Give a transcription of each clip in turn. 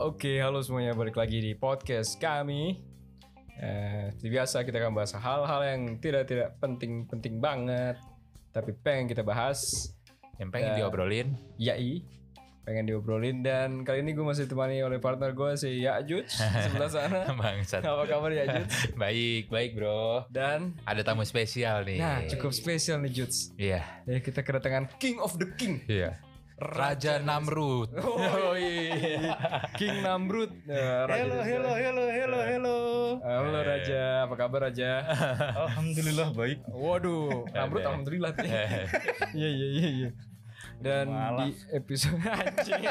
Oke, halo semuanya balik lagi di podcast kami. Eh, seperti biasa kita akan bahas hal-hal yang tidak tidak penting-penting banget, tapi pengen kita bahas, Yang pengen Ya. diobrolin yai pengen diobrolin dan kali ini gue masih ditemani oleh partner gue si Yajuj di sebelah sana. bangsat. Apa kabar Yajuj? baik, baik bro. Dan Ada tamu spesial nih. nah cukup spesial nih Juts. Iya. Ya, kita kedatangan King of the King. Iya. Raja Namrud. Oh, King Namrud. Eh, Raja iya. Halo, dari halo, halo, halo, halo. Halo Raja, apa kabar Raja? Alhamdulillah baik. Waduh, Namrud alhamdulillah tuh. Iya iya iya iya. Dan di episode anjing.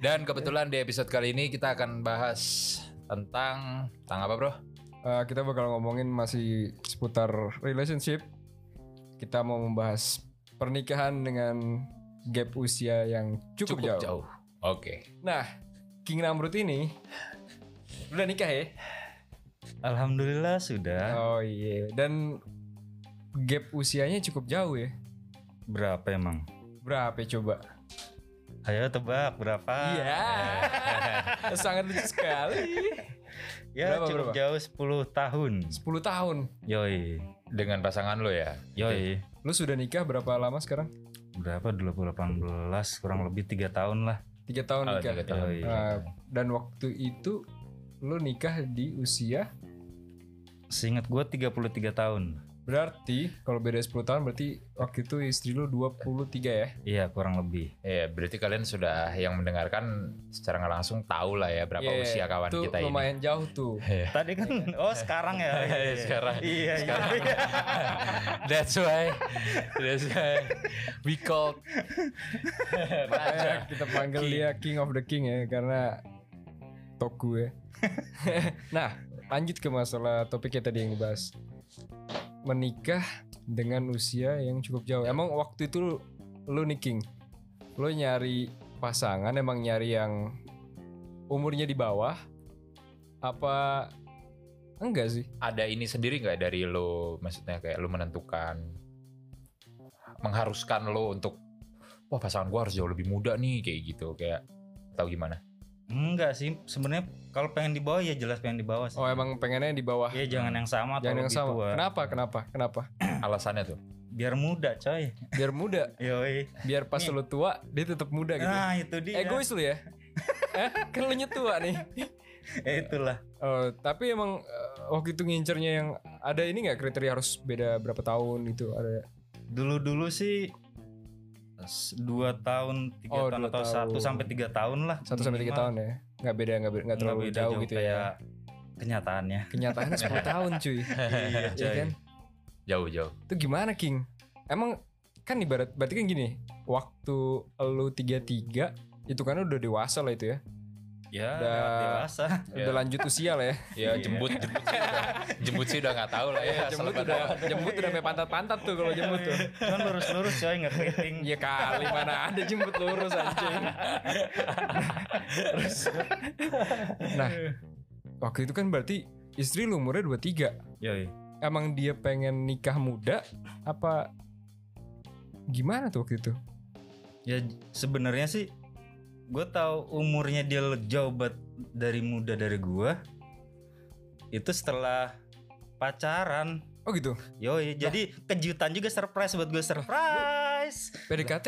Dan kebetulan di episode kali ini kita akan bahas tentang tentang apa bro? Eh, kita bakal ngomongin masih seputar relationship. Kita mau membahas pernikahan dengan gap usia yang cukup, jauh. Oke. Nah, King Namrud ini udah nikah ya? Alhamdulillah sudah. Oh iya. Dan gap usianya cukup jauh ya. Berapa emang? Berapa ya coba? Ayo tebak berapa? Iya. Sangat lucu sekali. Ya Berapa, cukup berapa? jauh 10 tahun. 10 tahun. Yoi. Dengan pasangan lo ya. Yoi. Lu sudah nikah berapa lama sekarang? Berapa 2018 kurang lebih 3 tahun lah. Tiga tahun Oh, nikah. tiga tahun. Yoi. Ah, dan waktu itu lu nikah di usia Seingat gua 33 tahun. berarti kalau beda 10 tahun berarti waktu itu istri lu 23 ya. Iya, kurang lebih. Iya, berarti kalian sudah yang mendengarkan secara nggak langsung tahu lah ya berapa Iya, usia kawan itu kita ini. Iya. lumayan jauh tuh. Tadi kan oh sekarang ya. Iya, iya. Sekarang. Iya, iya. That's why, that's why we called Makanya Eh, kita panggil dia King of the King ya karena toku ya. nah, lanjut ke masalah topik kita tadi yang dibahas. Menikah dengan usia yang cukup jauh. Emang waktu itu lu, lu nih King. Lu nyari pasangan emang nyari yang umurnya di bawah apa enggak sih? ada ini sendiri nggak dari lo maksudnya kayak lo menentukan mengharuskan lo untuk wah pasangan gua harus jauh lebih muda nih kayak gitu kayak atau gimana Enggak sih, sebenarnya kalau pengen di bawah ya jelas pengen di bawah sih. Oh, emang pengennya di bawah. Ya jangan yang sama atau Jangan yang lebih sama. tua. Kenapa? Kenapa? Kenapa? alasannya tuh Biar muda, coy. Biar muda, Yoi. biar pas lu tua dia tetap muda gitu. Nah, itu dia. Egois lu ya? eh, kan lu nyetua nih. Ya itulah. Eh, tapi emang eh, waktu itu ngincernya yang ada ini nggak kriteria harus beda berapa tahun gitu ada. Dulu-dulu sih s- dua tahun, tiga Oh, dua tahun atau tahun. satu sampai tiga tahun lah. Satu sampai tiga minimal. tahun ya. Nggak beda nggak be- nggak Nggak terlalu beda jauh, gitu ya. kayak Kenyataannya. Kenyataannya 10 tahun cuy. iya, Iya coy. kan? jauh jauh Itu gimana King? Emang kan ibarat berarti kan gini, waktu lu 33 itu kan udah dewasa lah itu ya. Ya, Udah- lewat dewasa. Iya. Udah lanjut usia lah ya. ya Iya. jembut jembut sih udah jembut sih udah nggak tahu lah ya asal Iya, jembut pada- udah jembut udah sampai pantat-pantat tuh kalau jembut tuh. Cuman lurus-lurus coy, nggak keriting. Ya kali mana ada jemput lurus anjing. Terus. Nah, waktu itu kan berarti istri lu umurnya 23. Yoi. Emang dia pengen nikah muda apa gimana tuh waktu itu? Ya j- sebenarnya sih gue tahu umurnya dia le- jauh banget dari muda dari gua itu setelah pacaran Oh gitu. yoi jadi kejutan juga surprise buat gue surprise PDKT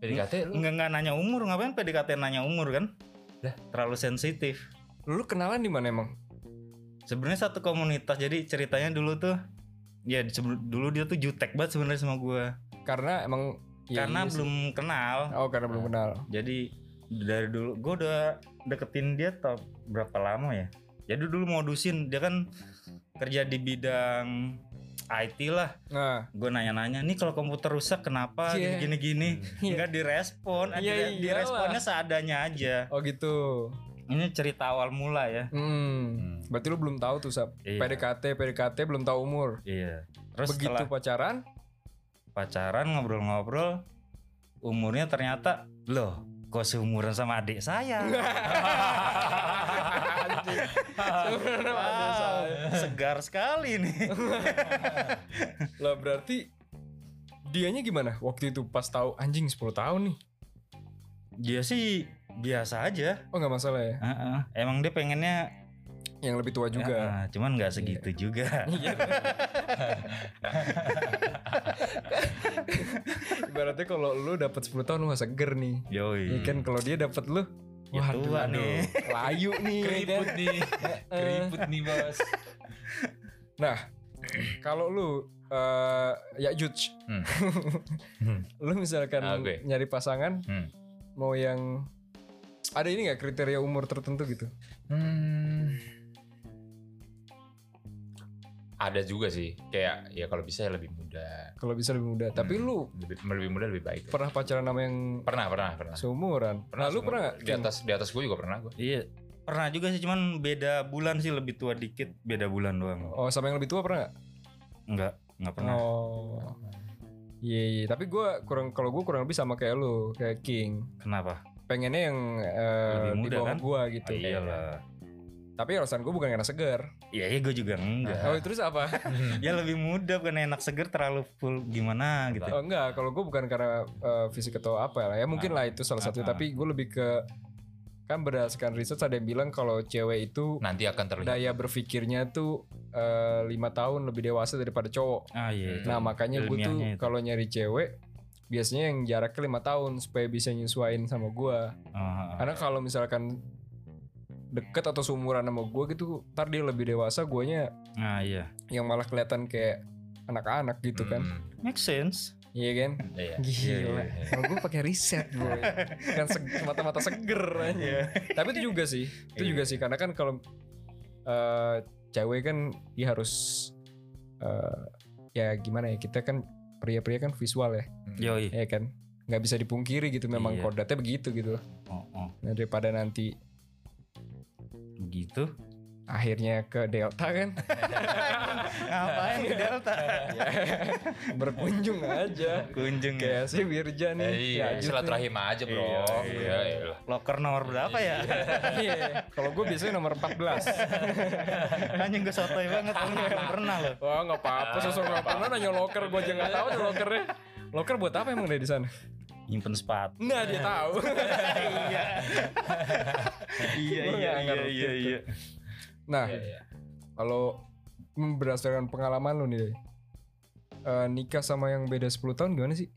PDKT lu Nggak, nggak nanya umur ngapain PDKT nanya umur kan Lah. terlalu sensitif lu kenalan di mana emang? sebenarnya satu komunitas jadi ceritanya dulu tuh ya di- sebelum- dulu dia tuh jutek banget sebenarnya sama gue Karena emang ya karena iya sih. belum kenal Oh, karena belum kenal. jadi dari dulu gue udah deketin dia tau berapa lama ya jadi dulu modusin dia kan kerja di bidang IT lah Nah, gue nanya-nanya nih kalau komputer rusak kenapa Iya. gini-gini Iya. nggak direspon Iya, Akhirnya iyalah. diresponnya seadanya aja oh gitu. ini cerita awal mula ya Hmm. Hmm. Berarti lu belum tahu tuh, Sab. Iya. PDKT, PDKT belum tahu umur. Iya. Terus Begitu setelah pacaran, pacaran ngobrol-ngobrol, umurnya ternyata loh kok seumuran sama adik saya. Anjing. Sebenarnya ada wow, saya. segar sekali nih. Lah berarti dianya gimana waktu itu pas tahu anjing 10 tahun nih. Dia sih biasa aja. Oh nggak masalah ya. Heeh. Emang dia pengennya Yang lebih tua juga. Iya. Heeh, cuman nggak segitu juga. Ibaratnya kalau lu dapat 10 tahun lu nggak seger nih. Yoi. Ya kan kalau dia dapat lu Hmm. Ya Waduh, tua aduh, nih. layu nih. ya kan? Keriput nih. Keriput nih, Bos. Nah, kalau lu eh ya judge, Hmm. lu misalkan Ah, gue. nyari pasangan Hmm. mau yang ada ini nggak kriteria umur tertentu gitu? Hmm. Ada juga sih, kayak ya kalau bisa ya lebih muda. Kalau bisa lebih muda. Tapi Hmm. lu Lebih, lebih muda lebih baik. pernah pacaran sama yang Pernah, pernah, pernah. seumuran? Nah, lu seumur- pernah nggak? Di atas di atas gue juga pernah gue. Iya. Pernah juga sih cuman beda bulan sih lebih tua dikit, beda bulan doang. Oh, sama yang lebih tua pernah nggak? Enggak, enggak pernah. Oh. Iya, iya. tapi gue kurang kalau gue kurang lebih sama kayak lu, kayak King. Kenapa? Pengennya yang eh, di Lebih muda, bawah kan? gue gitu. Ah, iyalah. Tapi alasan gue bukan karena seger. Iya, iya gue juga enggak. Oh, terus apa? Ya lebih muda bukan enak seger terlalu full gimana gitu. Oh, enggak, kalau gue bukan karena eh, fisik atau apa lah ya mungkin lah itu salah satu. ah, ah. Tapi gue lebih ke kan berdasarkan riset ada yang bilang kalau cewek itu Nanti akan terlihat. daya berpikirnya tuh eh, lima tahun lebih dewasa daripada cowok. Ah iya. Nah makanya gue tuh Ilmiahnya itu. kalau nyari cewek biasanya yang jaraknya lima tahun supaya bisa nyesuaiin sama gue. Ah, ah, ah. Karena kalau misalkan deket atau seumuran sama gue gitu, ntar dia lebih dewasa, guanya Ah, iya. yang malah kelihatan kayak anak-anak gitu kan, Hmm, Make sense. iya kan? Iya. Gila. Iya, iya, Kalau gue pakai riset boy. Kan seg- mata-mata seger aja. Tapi itu juga sih. Itu Iya. juga sih karena kan kalau eh, cewek kan dia harus eh, ya gimana ya kita kan pria-pria kan visual ya, Yoi. ya kan? nggak bisa dipungkiri gitu memang Iya. kodratnya begitu gitu loh. Oh, oh. Nah, daripada nanti Gitu. akhirnya ke Delta kan Ngapain di Delta? berkunjung aja Kunjung kayak ya. si Wirja nih Eh, Yajud iya, nih. Ah. silaturahim aja, Bro. Iya, iya. Iya, iya. Loker nomor berapa ya? Iya, kalau gue biasanya nomor 14 Anjing gue sotoy banget Pernah, belum pernah loh. Wah nggak apa-apa sosok nggak pernah nanya loker gue aja nggak tahu tuh lokernya. Loker buat apa emang dari di sana? Nyimpen sepatu. Nah dia tahu. iya. iya Gua iya nggak iya ngerti iya itu. iya. Nah Iya, iya. kalau berdasarkan pengalaman lu nih, eh, nikah sama yang beda 10 tahun gimana sih?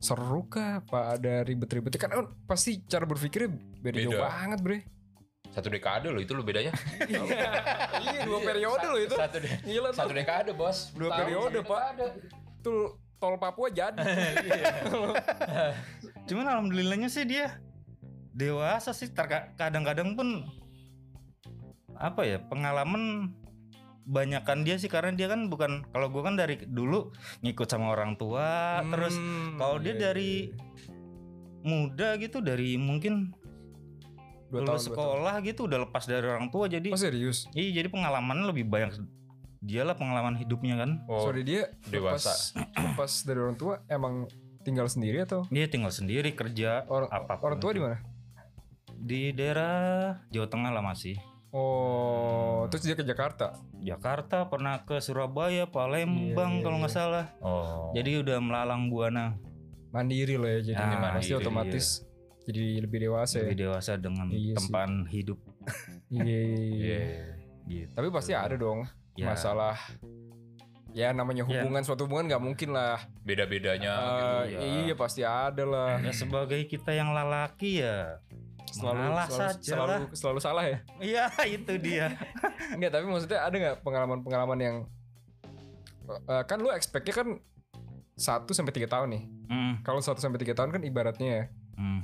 Seru kah? Apa ada ribet-ribet? Kan eh, pasti cara berpikirnya beda, jauh Beda. banget bre. Satu dekade loh itu lo bedanya. iya dua periode Sa- loh itu. Satu de- Gila satu tuh. dekade, Bos. Dua Tahun, periode, satu Pak. dekade. Tuh tol Papua jadi. Cuman alhamdulillahnya sih dia dewasa sih Terka- kadang-kadang pun apa ya pengalaman banyakan dia sih karena dia kan bukan kalau gue kan dari dulu ngikut sama orang tua terus Hmm, kalau dia iya, dari- iya, muda gitu dari iya. mungkin dua tahun lulus dua sekolah gitu udah lepas dari orang tua jadi tahun. Oh serius? iya jadi pengalaman lebih banyak dialah pengalaman hidupnya kan Oh, Sorry dia dewasa. Lepas, lepas dari orang tua emang tinggal sendiri atau dia tinggal sendiri kerja orang Apapun orang tua itu. di mana? di daerah Jawa Tengah lah masih Oh, terus dia ke Jakarta. Jakarta pernah ke Surabaya Palembang Iya, iya, kalau nggak salah Oh. jadi udah melalang buana Mandiri loh ya jadi Ah, pasti mandiri, otomatis jadi lebih dewasa ya. lebih dewasa dengan Iya sih. tempat hidup Iya. iya, iya. Iya. gitu Tapi pasti ada dong Ya, masalah ya namanya Ya. hubungan suatu hubungan nggak mungkin lah. Beda-bedanya Eh, gitu. iya. pasti ada lah. ya sebagai kita yang lelaki ya Selalu Mengalah selalu, saja selalu, lah. selalu salah ya. iya itu dia Enggak, tapi maksudnya ada nggak pengalaman-pengalaman yang eh, kan lu expect-nya kan 1 sampai 3 tahun nih. Mm, Kalau 1 sampai 3 tahun kan ibaratnya ya mm.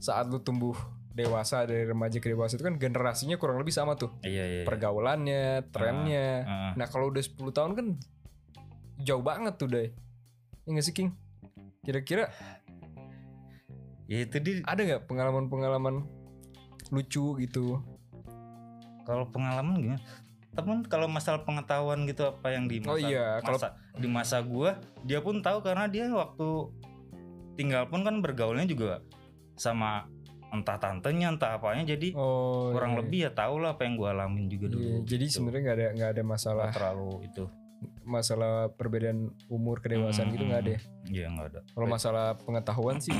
saat lu tumbuh dewasa dari remaja ke dewasa itu kan generasinya kurang lebih sama tuh iya iya, Ah. iya. pergaulannya trennya Heeh. nah kalau udah 10 tahun kan jauh banget tuh deh ya nggak sih King kira-kira ya itu dia ada nggak pengalaman-pengalaman lucu gitu kalau pengalaman gimana temen kalau masalah pengetahuan gitu apa yang di masa Oh iya, kalau- masa- di masa gua dia pun tahu karena dia waktu tinggal pun kan bergaulnya juga sama entah tantenya entah apanya jadi oh kurang iya. lebih ya tau lah apa yang gua alamin juga Iya, dulu jadi gitu. sebenarnya nggak ada nggak ada masalah Nggak terlalu itu masalah perbedaan umur Hmm. kedewasaan gitu nggak ada gitu ya? iya nggak ada kalau masalah pengetahuan sih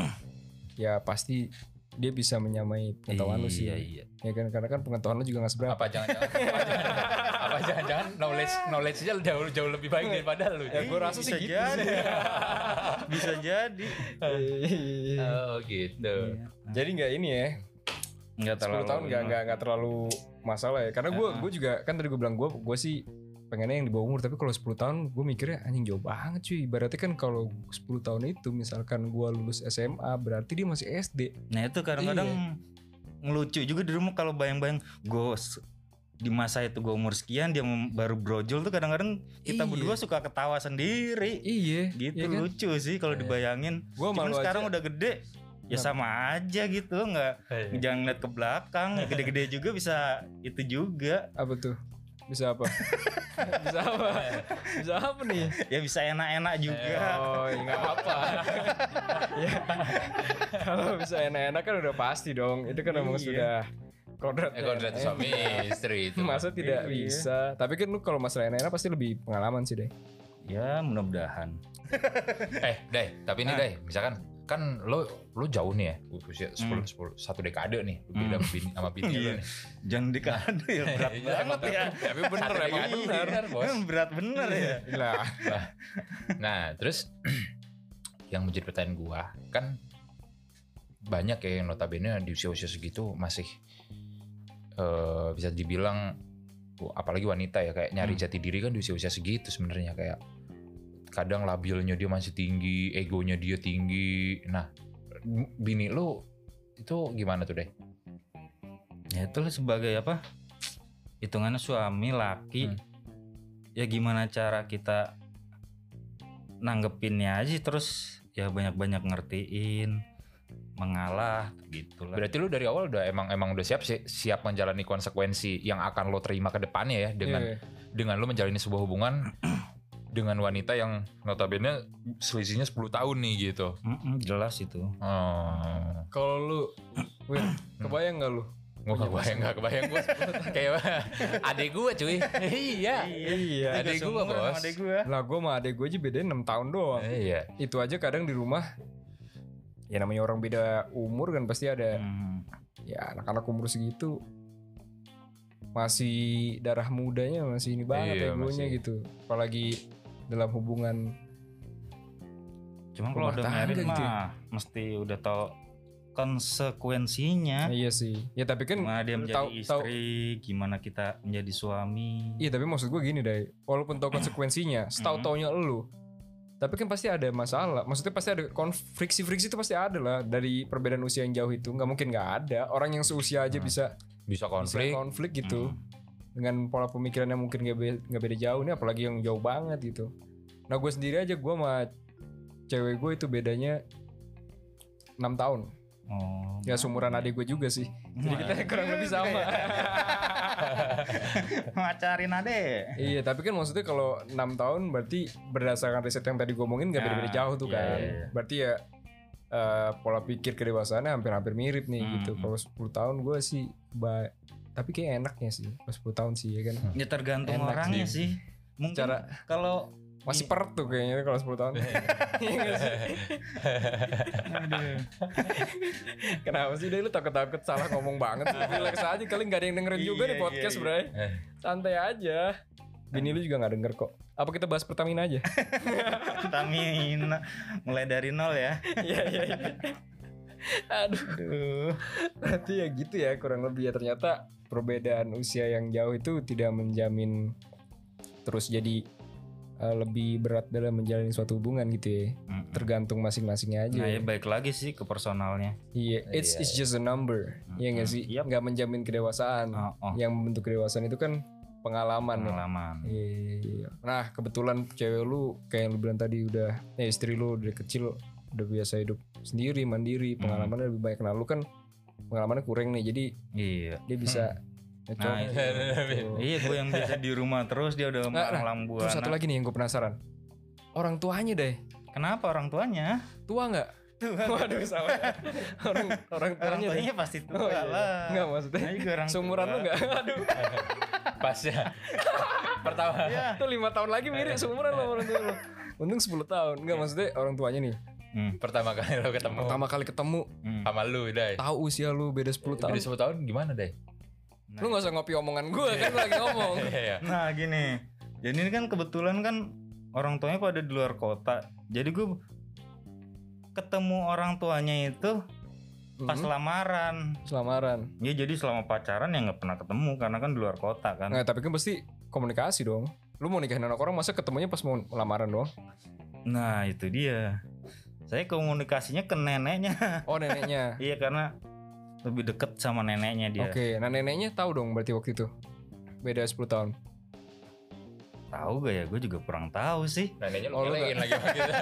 ya pasti dia bisa menyamai pengetahuan lu sih iya, ya. iya. Ya kan karena kan pengetahuan lu juga gak seberapa. Apa jangan-jangan apa jangan-jangan- apa jangan-jangan knowledge knowledge-nya jauh jauh lebih baik daripada lu. Ya, gua rasa sih bisa gitu jadi. sih. bisa jadi Oh gitu. Eh, Jadi nggak ini ya, nggak 10 Iya. tahun nggak nggak nggak terlalu masalah ya. Karena gue Ya. gue juga kan tadi gue bilang gue gue sih pengennya yang di bawah umur tapi kalau 10 tahun gue mikirnya anjing jauh banget cuy ibaratnya kan kalau 10 tahun itu misalkan gue lulus SMA berarti dia masih SD nah itu kadang-kadang Iya. ngelucu juga di rumah kalau bayang-bayang gos di masa itu gue umur sekian dia mem- baru brojol tuh kadang-kadang kita Iya. berdua suka ketawa sendiri iya gitu iya kan? lucu sih kalau Iya. dibayangin gue cuman malu sekarang aja udah gede Kenapa? ya sama aja gitu nggak Iya. jangan lihat ke belakang Ya gede-gede juga bisa itu juga apa tuh bisa apa bisa apa bisa apa nih ya bisa enak-enak juga oh ya nggak apa-apa ya kalau bisa enak-enak kan udah pasti dong itu kan emang Iya. sudah kodrat Eh kodrat ya. suami istri itu. masa tidak Iya. bisa tapi kan lu kalau masalah enak-enak pasti lebih pengalaman sih deh ya mudah-mudahan Eh, Day, tapi ini Ah. Day, misalkan kan lo lo jauh nih ya usia 10 10 Hmm. satu dekade nih lu Hmm. beda sama bini sama bini Iya. lu nih. jangan dikade ya berat Iya, banget emang- ya Tapi bener emang Iya, bener, kan, Bos. berat bener ya lah Nah, terus yang menjadi pertanyaan gua kan banyak ya yang notabene di usia-usia segitu masih eh, bisa dibilang oh, apalagi wanita ya kayak nyari Hmm. jati diri kan di usia-usia segitu sebenarnya kayak kadang labilnya dia masih tinggi, egonya dia tinggi. Nah, bini lu itu gimana tuh deh? ya itu lu sebagai apa hitungannya suami laki Hmm. ya gimana cara kita nanggepinnya aja terus ya banyak-banyak ngertiin mengalah gitu lah Berarti lu dari awal udah emang emang udah siap sih siap menjalani konsekuensi yang akan lo terima ke depannya ya dengan Iya. dengan lo menjalani sebuah hubungan dengan wanita yang notabene selisihnya 10 tahun nih gitu. Mm-mm, jelas itu Oh. kalau lu Win, kebayang nggak lu Gue Iya, gak kebayang, gak kebayang gue Kayak adek gue cuy Iya iya Adek gua, Gua seumuran sama Bos. adek gua. lah gue sama adek gue aja beda 6 tahun doang Iya itu aja kadang di rumah ya namanya orang beda umur kan pasti ada Hmm. ya anak-anak umur segitu masih darah mudanya masih ini banget Iya, egonya masih. gitu apalagi dalam hubungan cuman kalau Rumah udah tangga married gitu ya. mah mesti udah tahu konsekuensinya iya sih ya tapi kan gimana dia lu menjadi tahu- tahu- istri gimana kita menjadi suami iya tapi maksud gue gini deh walaupun tau konsekuensinya Hmm. setahu taunya elu tapi kan pasti ada masalah maksudnya pasti ada konflik friksi friksi itu pasti ada lah dari perbedaan usia yang jauh itu nggak mungkin nggak ada orang yang seusia aja Hmm. bisa bisa Bisa konflik konflik gitu Hmm. dengan pola pemikirannya mungkin gak, be- gak beda jauh nih apalagi yang jauh banget gitu nah gue sendiri aja gue sama cewek gue itu bedanya 6 tahun oh, ya seumuran adik gue juga sih jadi kita kurang lebih sama Iya. Macarin adek. iya tapi kan maksudnya kalau 6 tahun berarti berdasarkan riset yang tadi gue omongin gak Ya, beda-beda jauh tuh iya, kan iya, iya. berarti ya eh, pola pikir kedewasaannya hampir-hampir mirip nih Hmm, gitu hmm. kalau 10 tahun gue sih ba- tapi kayak enaknya sih kalau 10 tahun sih ya kan Ya tergantung Enak orangnya sih. Mungkin Cara- kalau masih perut tuh kayaknya kalau 10 tahun Iya nggak sih? Aduh. Kenapa sih deh lu takut-takut salah ngomong banget sih. Relax aja kali nggak ada yang dengerin juga Iya, nih podcast iya, bray iya. Santai aja Bini lu juga nggak denger kok Apa kita bahas Pertamina aja? Pertamina mulai dari nol ya. Iya iya iya Aduh Aduh. Berarti ya gitu ya kurang lebih ya Ternyata perbedaan usia yang jauh itu tidak menjamin Terus jadi eh, lebih berat dalam menjalani suatu hubungan gitu ya Tergantung masing-masingnya aja Nah, ya baik lagi sih ke personalnya. Iya, it's Iya, it's just a number. Iya nggak Mm, sih? yep. Nggak menjamin kedewasaan. Oh, Mm. oh, Yang membentuk kedewasaan itu kan pengalaman. ya. pengalaman. Iya, iya, iya. Nah, kebetulan cewek lu kayak yang lu bilang tadi udah eh, istri lu dari kecil udah biasa hidup sendiri, mandiri, Mm. pengalamannya lebih banyak. Nah, lu kan pengalamannya kurang nih. Jadi Iya. dia bisa ngecok. Nah, itu. Gitu. Iya, gue yang biasa di rumah terus dia udah Nah, nah, malam buana. Terus satu lagi nih yang gue penasaran. Orang tuanya deh. Kenapa orang tuanya? Tua nggak? Waduh, sama. orang orang Orang tuanya. deh. tuanya pasti tua Oh, iya. lah. Nggak maksudnya. Nah, juga orang Seumuran tua. lu nggak? Aduh. Pas ya Pertama Iya. Iya. Itu lima tahun lagi mirip seumuran lo orang tua lo. Untung 10 tahun. Enggak maksudnya orang tuanya nih. Hmm, pertama kali lo ketemu Pertama kali ketemu, hmm. sama lu Day tahu usia lu beda 10 tahun. Beda 10 tahun gimana Day? Nah, Lu gak usah ngopi omongan gue kan lu lagi ngomong. Iya. Nah gini, jadi ini kan kebetulan kan orang tuanya pada di luar kota. Jadi gue ketemu orang tuanya itu pas Hmm, lamaran. Selamaran. Ya jadi selama pacaran ya nggak pernah ketemu karena kan di luar kota kan. Nah, tapi kan pasti komunikasi dong. Lu mau nikahin anak orang masa ketemunya pas mau lamaran doang? Nah itu dia. Saya komunikasinya ke neneknya. Oh, neneknya. Iya karena lebih deket sama neneknya dia. Oke, nah neneknya tahu dong berarti waktu itu. Beda 10 tahun. Tahu gak ya? Gue juga kurang tahu sih. Neneknya Nah, lu Oh, lu ngelein lagi sama kita.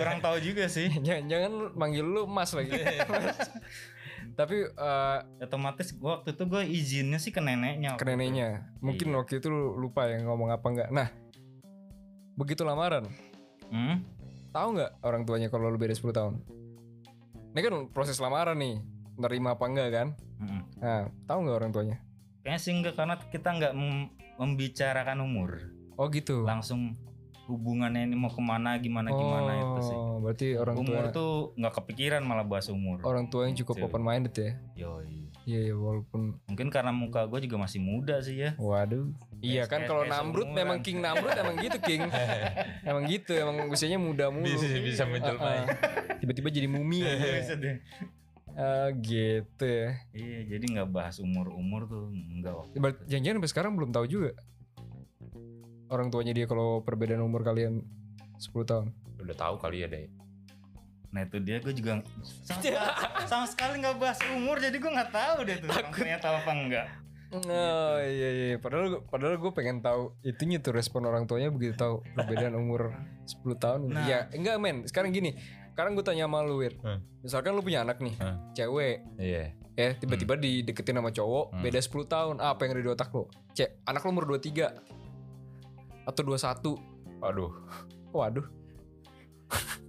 Kurang tahu juga sih. Jangan-jangan manggil lu Mas lagi. tapi eh, Otomatis gua waktu itu gue izinnya sih ke neneknya. ke neneknya. Mungkin waktu itu lu lupa ya ngomong apa enggak. Nah, begitu lamaran, Hmm? tahu nggak orang tuanya kalau lu beda 10 tahun? Ini kan proses lamaran nih, nerima apa enggak kan? Mm-mm. Nah, tahu nggak orang tuanya? Kayaknya sih enggak karena kita nggak mem- membicarakan umur. Oh gitu. Langsung hubungannya ini mau kemana gimana gimana itu sih. Oh, Berarti orang umur tua tuh nggak kepikiran malah bahas umur. orang tua yang cukup Gitu. open minded ya. Yoi. Iya, iya, walaupun Mungkin karena muka gue juga masih muda sih ya. waduh. Iya Kayak- kan kalau kayak Namrud seumuran. memang King Namrud emang gitu King. emang gitu, emang usianya muda mulu. Bisa Ah, bisa ah. menjelma. Tiba-tiba jadi mumi ya. Bisa deh. Ah, gitu ya. Iya, jadi nggak bahas umur-umur tuh nggak waktu. Ber- Jangan-jangan sampai sekarang belum tahu juga. Orang tuanya dia kalau perbedaan umur kalian 10 tahun. Udah tahu kali ya Day. Nah itu dia gue juga sama, sama sekali nggak bahas umur, jadi gue nggak tahu deh tuh orang ternyata apa enggak. Oh iya iya padahal padahal gue pengen tahu itunya tuh respon orang tuanya begitu tahu perbedaan umur 10 tahun. Nah. Ya enggak men, sekarang gini. Sekarang gue tanya sama lu Wir. Hmm. Misalkan lu punya anak nih, Hmm. cewek Iya. ya tiba-tiba dideketin sama cowok Hmm. beda 10 tahun. Apa yang ada di otak lu? Cek, anak lu umur 23 atau 21. Waduh. Waduh,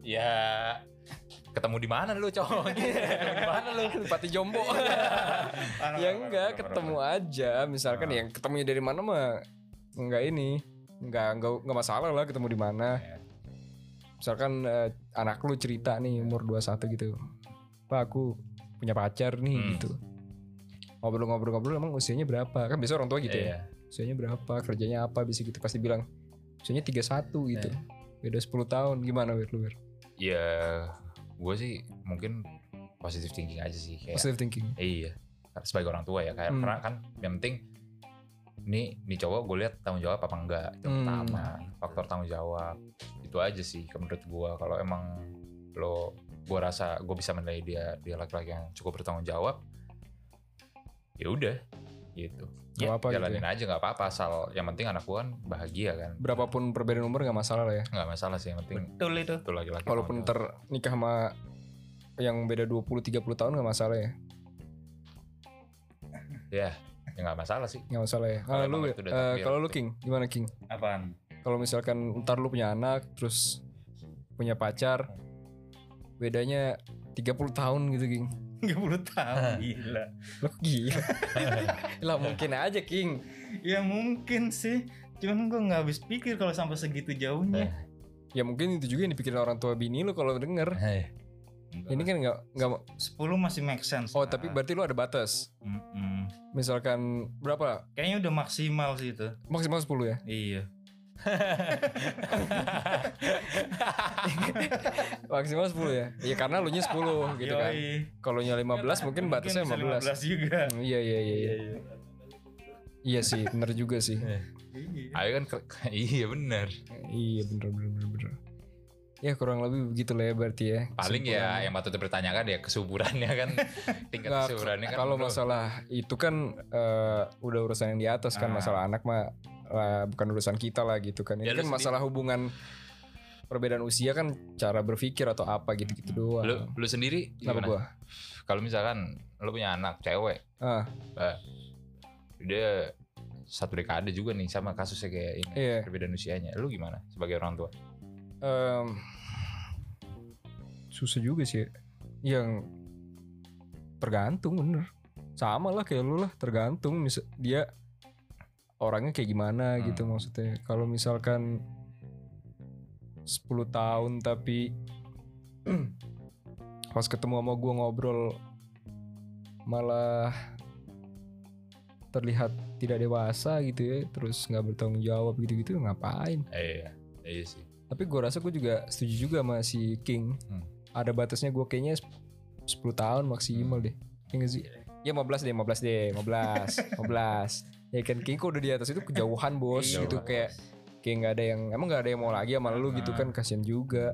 Ya Iya. ketemu di mana lu cowok? ketemu di mana lu? pati jombo. Parah, ya parah, enggak parah, ketemu parah. aja misalkan Ah. yang ketemunya dari mana mah enggak ini enggak enggak enggak masalah lah ketemu di mana Iya. misalkan eh, anak lu cerita nih umur 21 gitu pak aku punya pacar nih Hmm. gitu ngobrol-ngobrol-ngobrol emang usianya berapa kan biasa orang tua gitu ya Iya. usianya berapa kerjanya apa bisa gitu pasti bilang usianya 31 Iya, gitu beda 10 tahun gimana Wir lu Wir Ya gue sih mungkin positive thinking aja sih kayak positive thinking Iya. Sebagai orang tua ya kayak Hmm. karena kan yang penting nih nih cowok gue lihat tanggung jawab apa enggak itu Hmm. pertama faktor tanggung jawab itu aja sih ke menurut gue kalau emang lo gue rasa gue bisa menilai dia dia laki-laki yang cukup bertanggung jawab ya udah gitu Nggak apa-apa gitu jalanin aja nggak apa-apa asal yang penting anak gue kan bahagia kan berapapun perbedaan umur nggak masalah lah ya nggak masalah sih yang penting Betul itu. itu laki-laki walaupun tanggung jawab. ntar nikah sama yang beda 20 30 tahun nggak masalah ya ya nggak masalah sih nggak masalah ya. Kalau Kalau lu, emang eh, itu udah takdir kalau lu gitu. King, gimana King? Apaan? Kalau misalkan ntar lu punya anak, terus punya pacar, bedanya 30 tahun gitu King. 30 tahun gila. Lu kok gila. lah mungkin aja King. Ya mungkin sih. Cuman gue nggak habis pikir kalau sampai segitu jauhnya. Ya mungkin itu juga yang dipikirin orang tua bini lu kalau denger. Ini kan nggak nggak. mau- 10 masih make sense. Oh lah. Ah. tapi berarti lu ada batas. Mm-mm. Misalkan berapa? Kayaknya udah maksimal sih itu. Maksimal 10 ya. Iya. Maksimal 10 ya. Ya karena lu nya 10 gitu kan. Yoi. Kalau nya 15 mungkin batasnya bisa 15. 15 juga. Iya iya iya. iya. iya. Iya sih, bener juga sih. Eh. Iya. ayo kan ke- iya bener Iya bener bener bener bener. Ya kurang lebih begitu lah ya berarti ya. paling ya yang patut dipertanyakan ya kesuburannya kan tingkat Nggak, kesuburannya kan kalau bro. masalah itu kan eh, udah urusan yang di atas kan Ah. masalah anak mah eh, bukan urusan kita lah gitu kan. Ini Ya, lu kan sendiri- masalah hubungan perbedaan usia kan cara berpikir atau apa gitu-gitu doang. Hmm. lu lu sendiri Kenapa gimana? gua? kalau misalkan lu punya anak cewek Ah, dia satu dekade juga nih sama kasusnya kayak ini iya. perbedaan usianya lu gimana sebagai orang tua Em, susah juga sih. ya. Yang tergantung bener. Sama lah kayak lu lah, tergantung misa- dia orangnya kayak gimana Hmm. gitu maksudnya. Kalau misalkan 10 tahun tapi pas ketemu sama gue ngobrol malah terlihat tidak dewasa gitu ya terus nggak bertanggung jawab gitu-gitu ngapain Eh, iya, iya sih. tapi gue rasa gue juga setuju juga sama si King Hmm. ada batasnya gue kayaknya sep- 10 tahun maksimal deh ya nggak sih ya 15 deh 15 deh 15 15 ya kan King kok udah di atas itu kejauhan bos Iya, gitu Bos. kayak kayak nggak ada yang emang nggak ada yang mau lagi sama lu gitu kan kasihan juga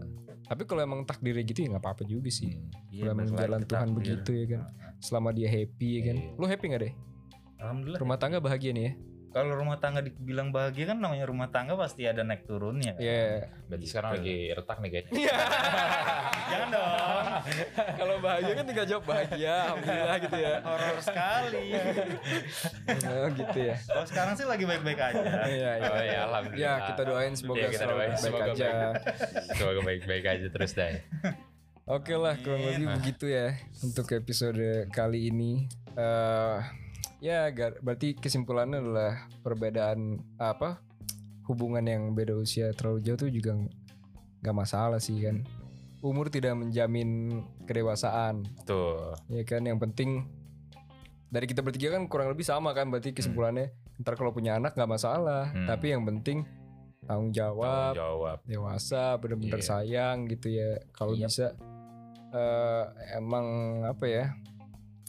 tapi kalau emang takdirnya gitu ya nggak apa-apa juga sih Hmm. kalau emang Iya, jalan Tuhan begitu ya kan selama dia happy ya kan Iya. lu happy nggak deh Alhamdulillah. rumah tangga bahagia nih ya Kalau rumah tangga dibilang bahagia kan namanya rumah tangga pasti ada naik turunnya. kan? ya Berarti sekarang Gitu. lagi retak nih kayaknya. Iya. Jangan dong. kalau bahagia kan tinggal jawab bahagia alhamdulillah gitu ya Horor sekali. oh, gitu ya Kalau sekarang sih lagi baik-baik aja. Iya, iya. Oh, ya, alhamdulillah. Ya, kita doain semoga Iya, kita selalu doain, baik semoga aja. Semoga baik-baik aja terus deh. Oke lah, kurang Amin. lebih begitu ya untuk episode kali ini. Eh ya, gar- berarti kesimpulannya adalah perbedaan apa? Hubungan yang beda usia terlalu jauh tuh juga ng- nggak masalah sih kan. Umur tidak menjamin kedewasaan, Tuh. ya kan? Yang penting dari kita bertiga kan kurang lebih sama kan, berarti kesimpulannya ntar kalau punya anak nggak masalah, Hmm. tapi yang penting tanggung jawab, Tanggung jawab. dewasa bener-bener Iya. sayang gitu ya kalau Yap. bisa eh, emang apa ya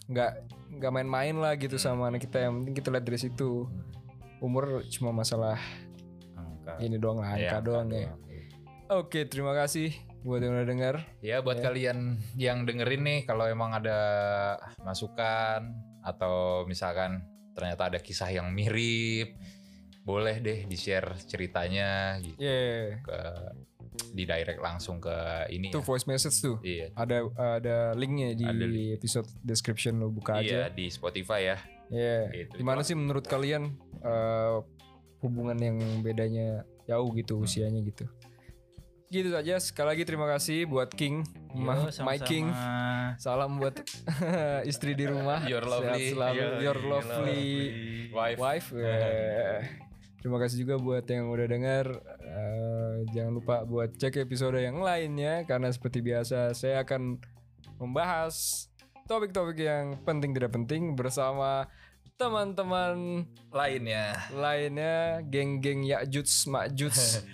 nggak nggak main-main lah gitu Hmm. sama anak kita yang penting kita lihat dari situ umur cuma masalah Angka. ini doang lah angka Ya, doang ya oke terima kasih buat yang udah dengar Ya buat Ya. kalian yang dengerin nih kalau emang ada masukan atau misalkan ternyata ada kisah yang mirip, boleh deh di-share ceritanya gitu yeah ke di direct langsung ke ini. itu ya. voice message tuh Iya. ada ada linknya di Ada link. episode description lo buka aja Iya di Spotify ya. yeah Gitu. gimana sih menurut kalian eh, hubungan yang bedanya jauh Hmm. gitu usianya gitu gitu saja sekali lagi terima kasih buat King Ma- my Yo, Iya, sama-sama. King salam buat istri di rumah Your Sehat lovely. selalu. Yo, your yo, lovely Wife. wife Eh, terima kasih juga buat yang udah dengar Eh, jangan lupa buat cek episode yang lainnya karena seperti biasa saya akan membahas topik-topik yang penting tidak penting bersama teman-teman Lainnya. lainnya geng-geng Yakjuts Makjuts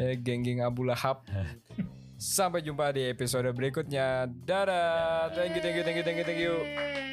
ya, geng-geng Abu Lahab sampai jumpa di episode berikutnya dadah thank you thank you thank you thank you thank you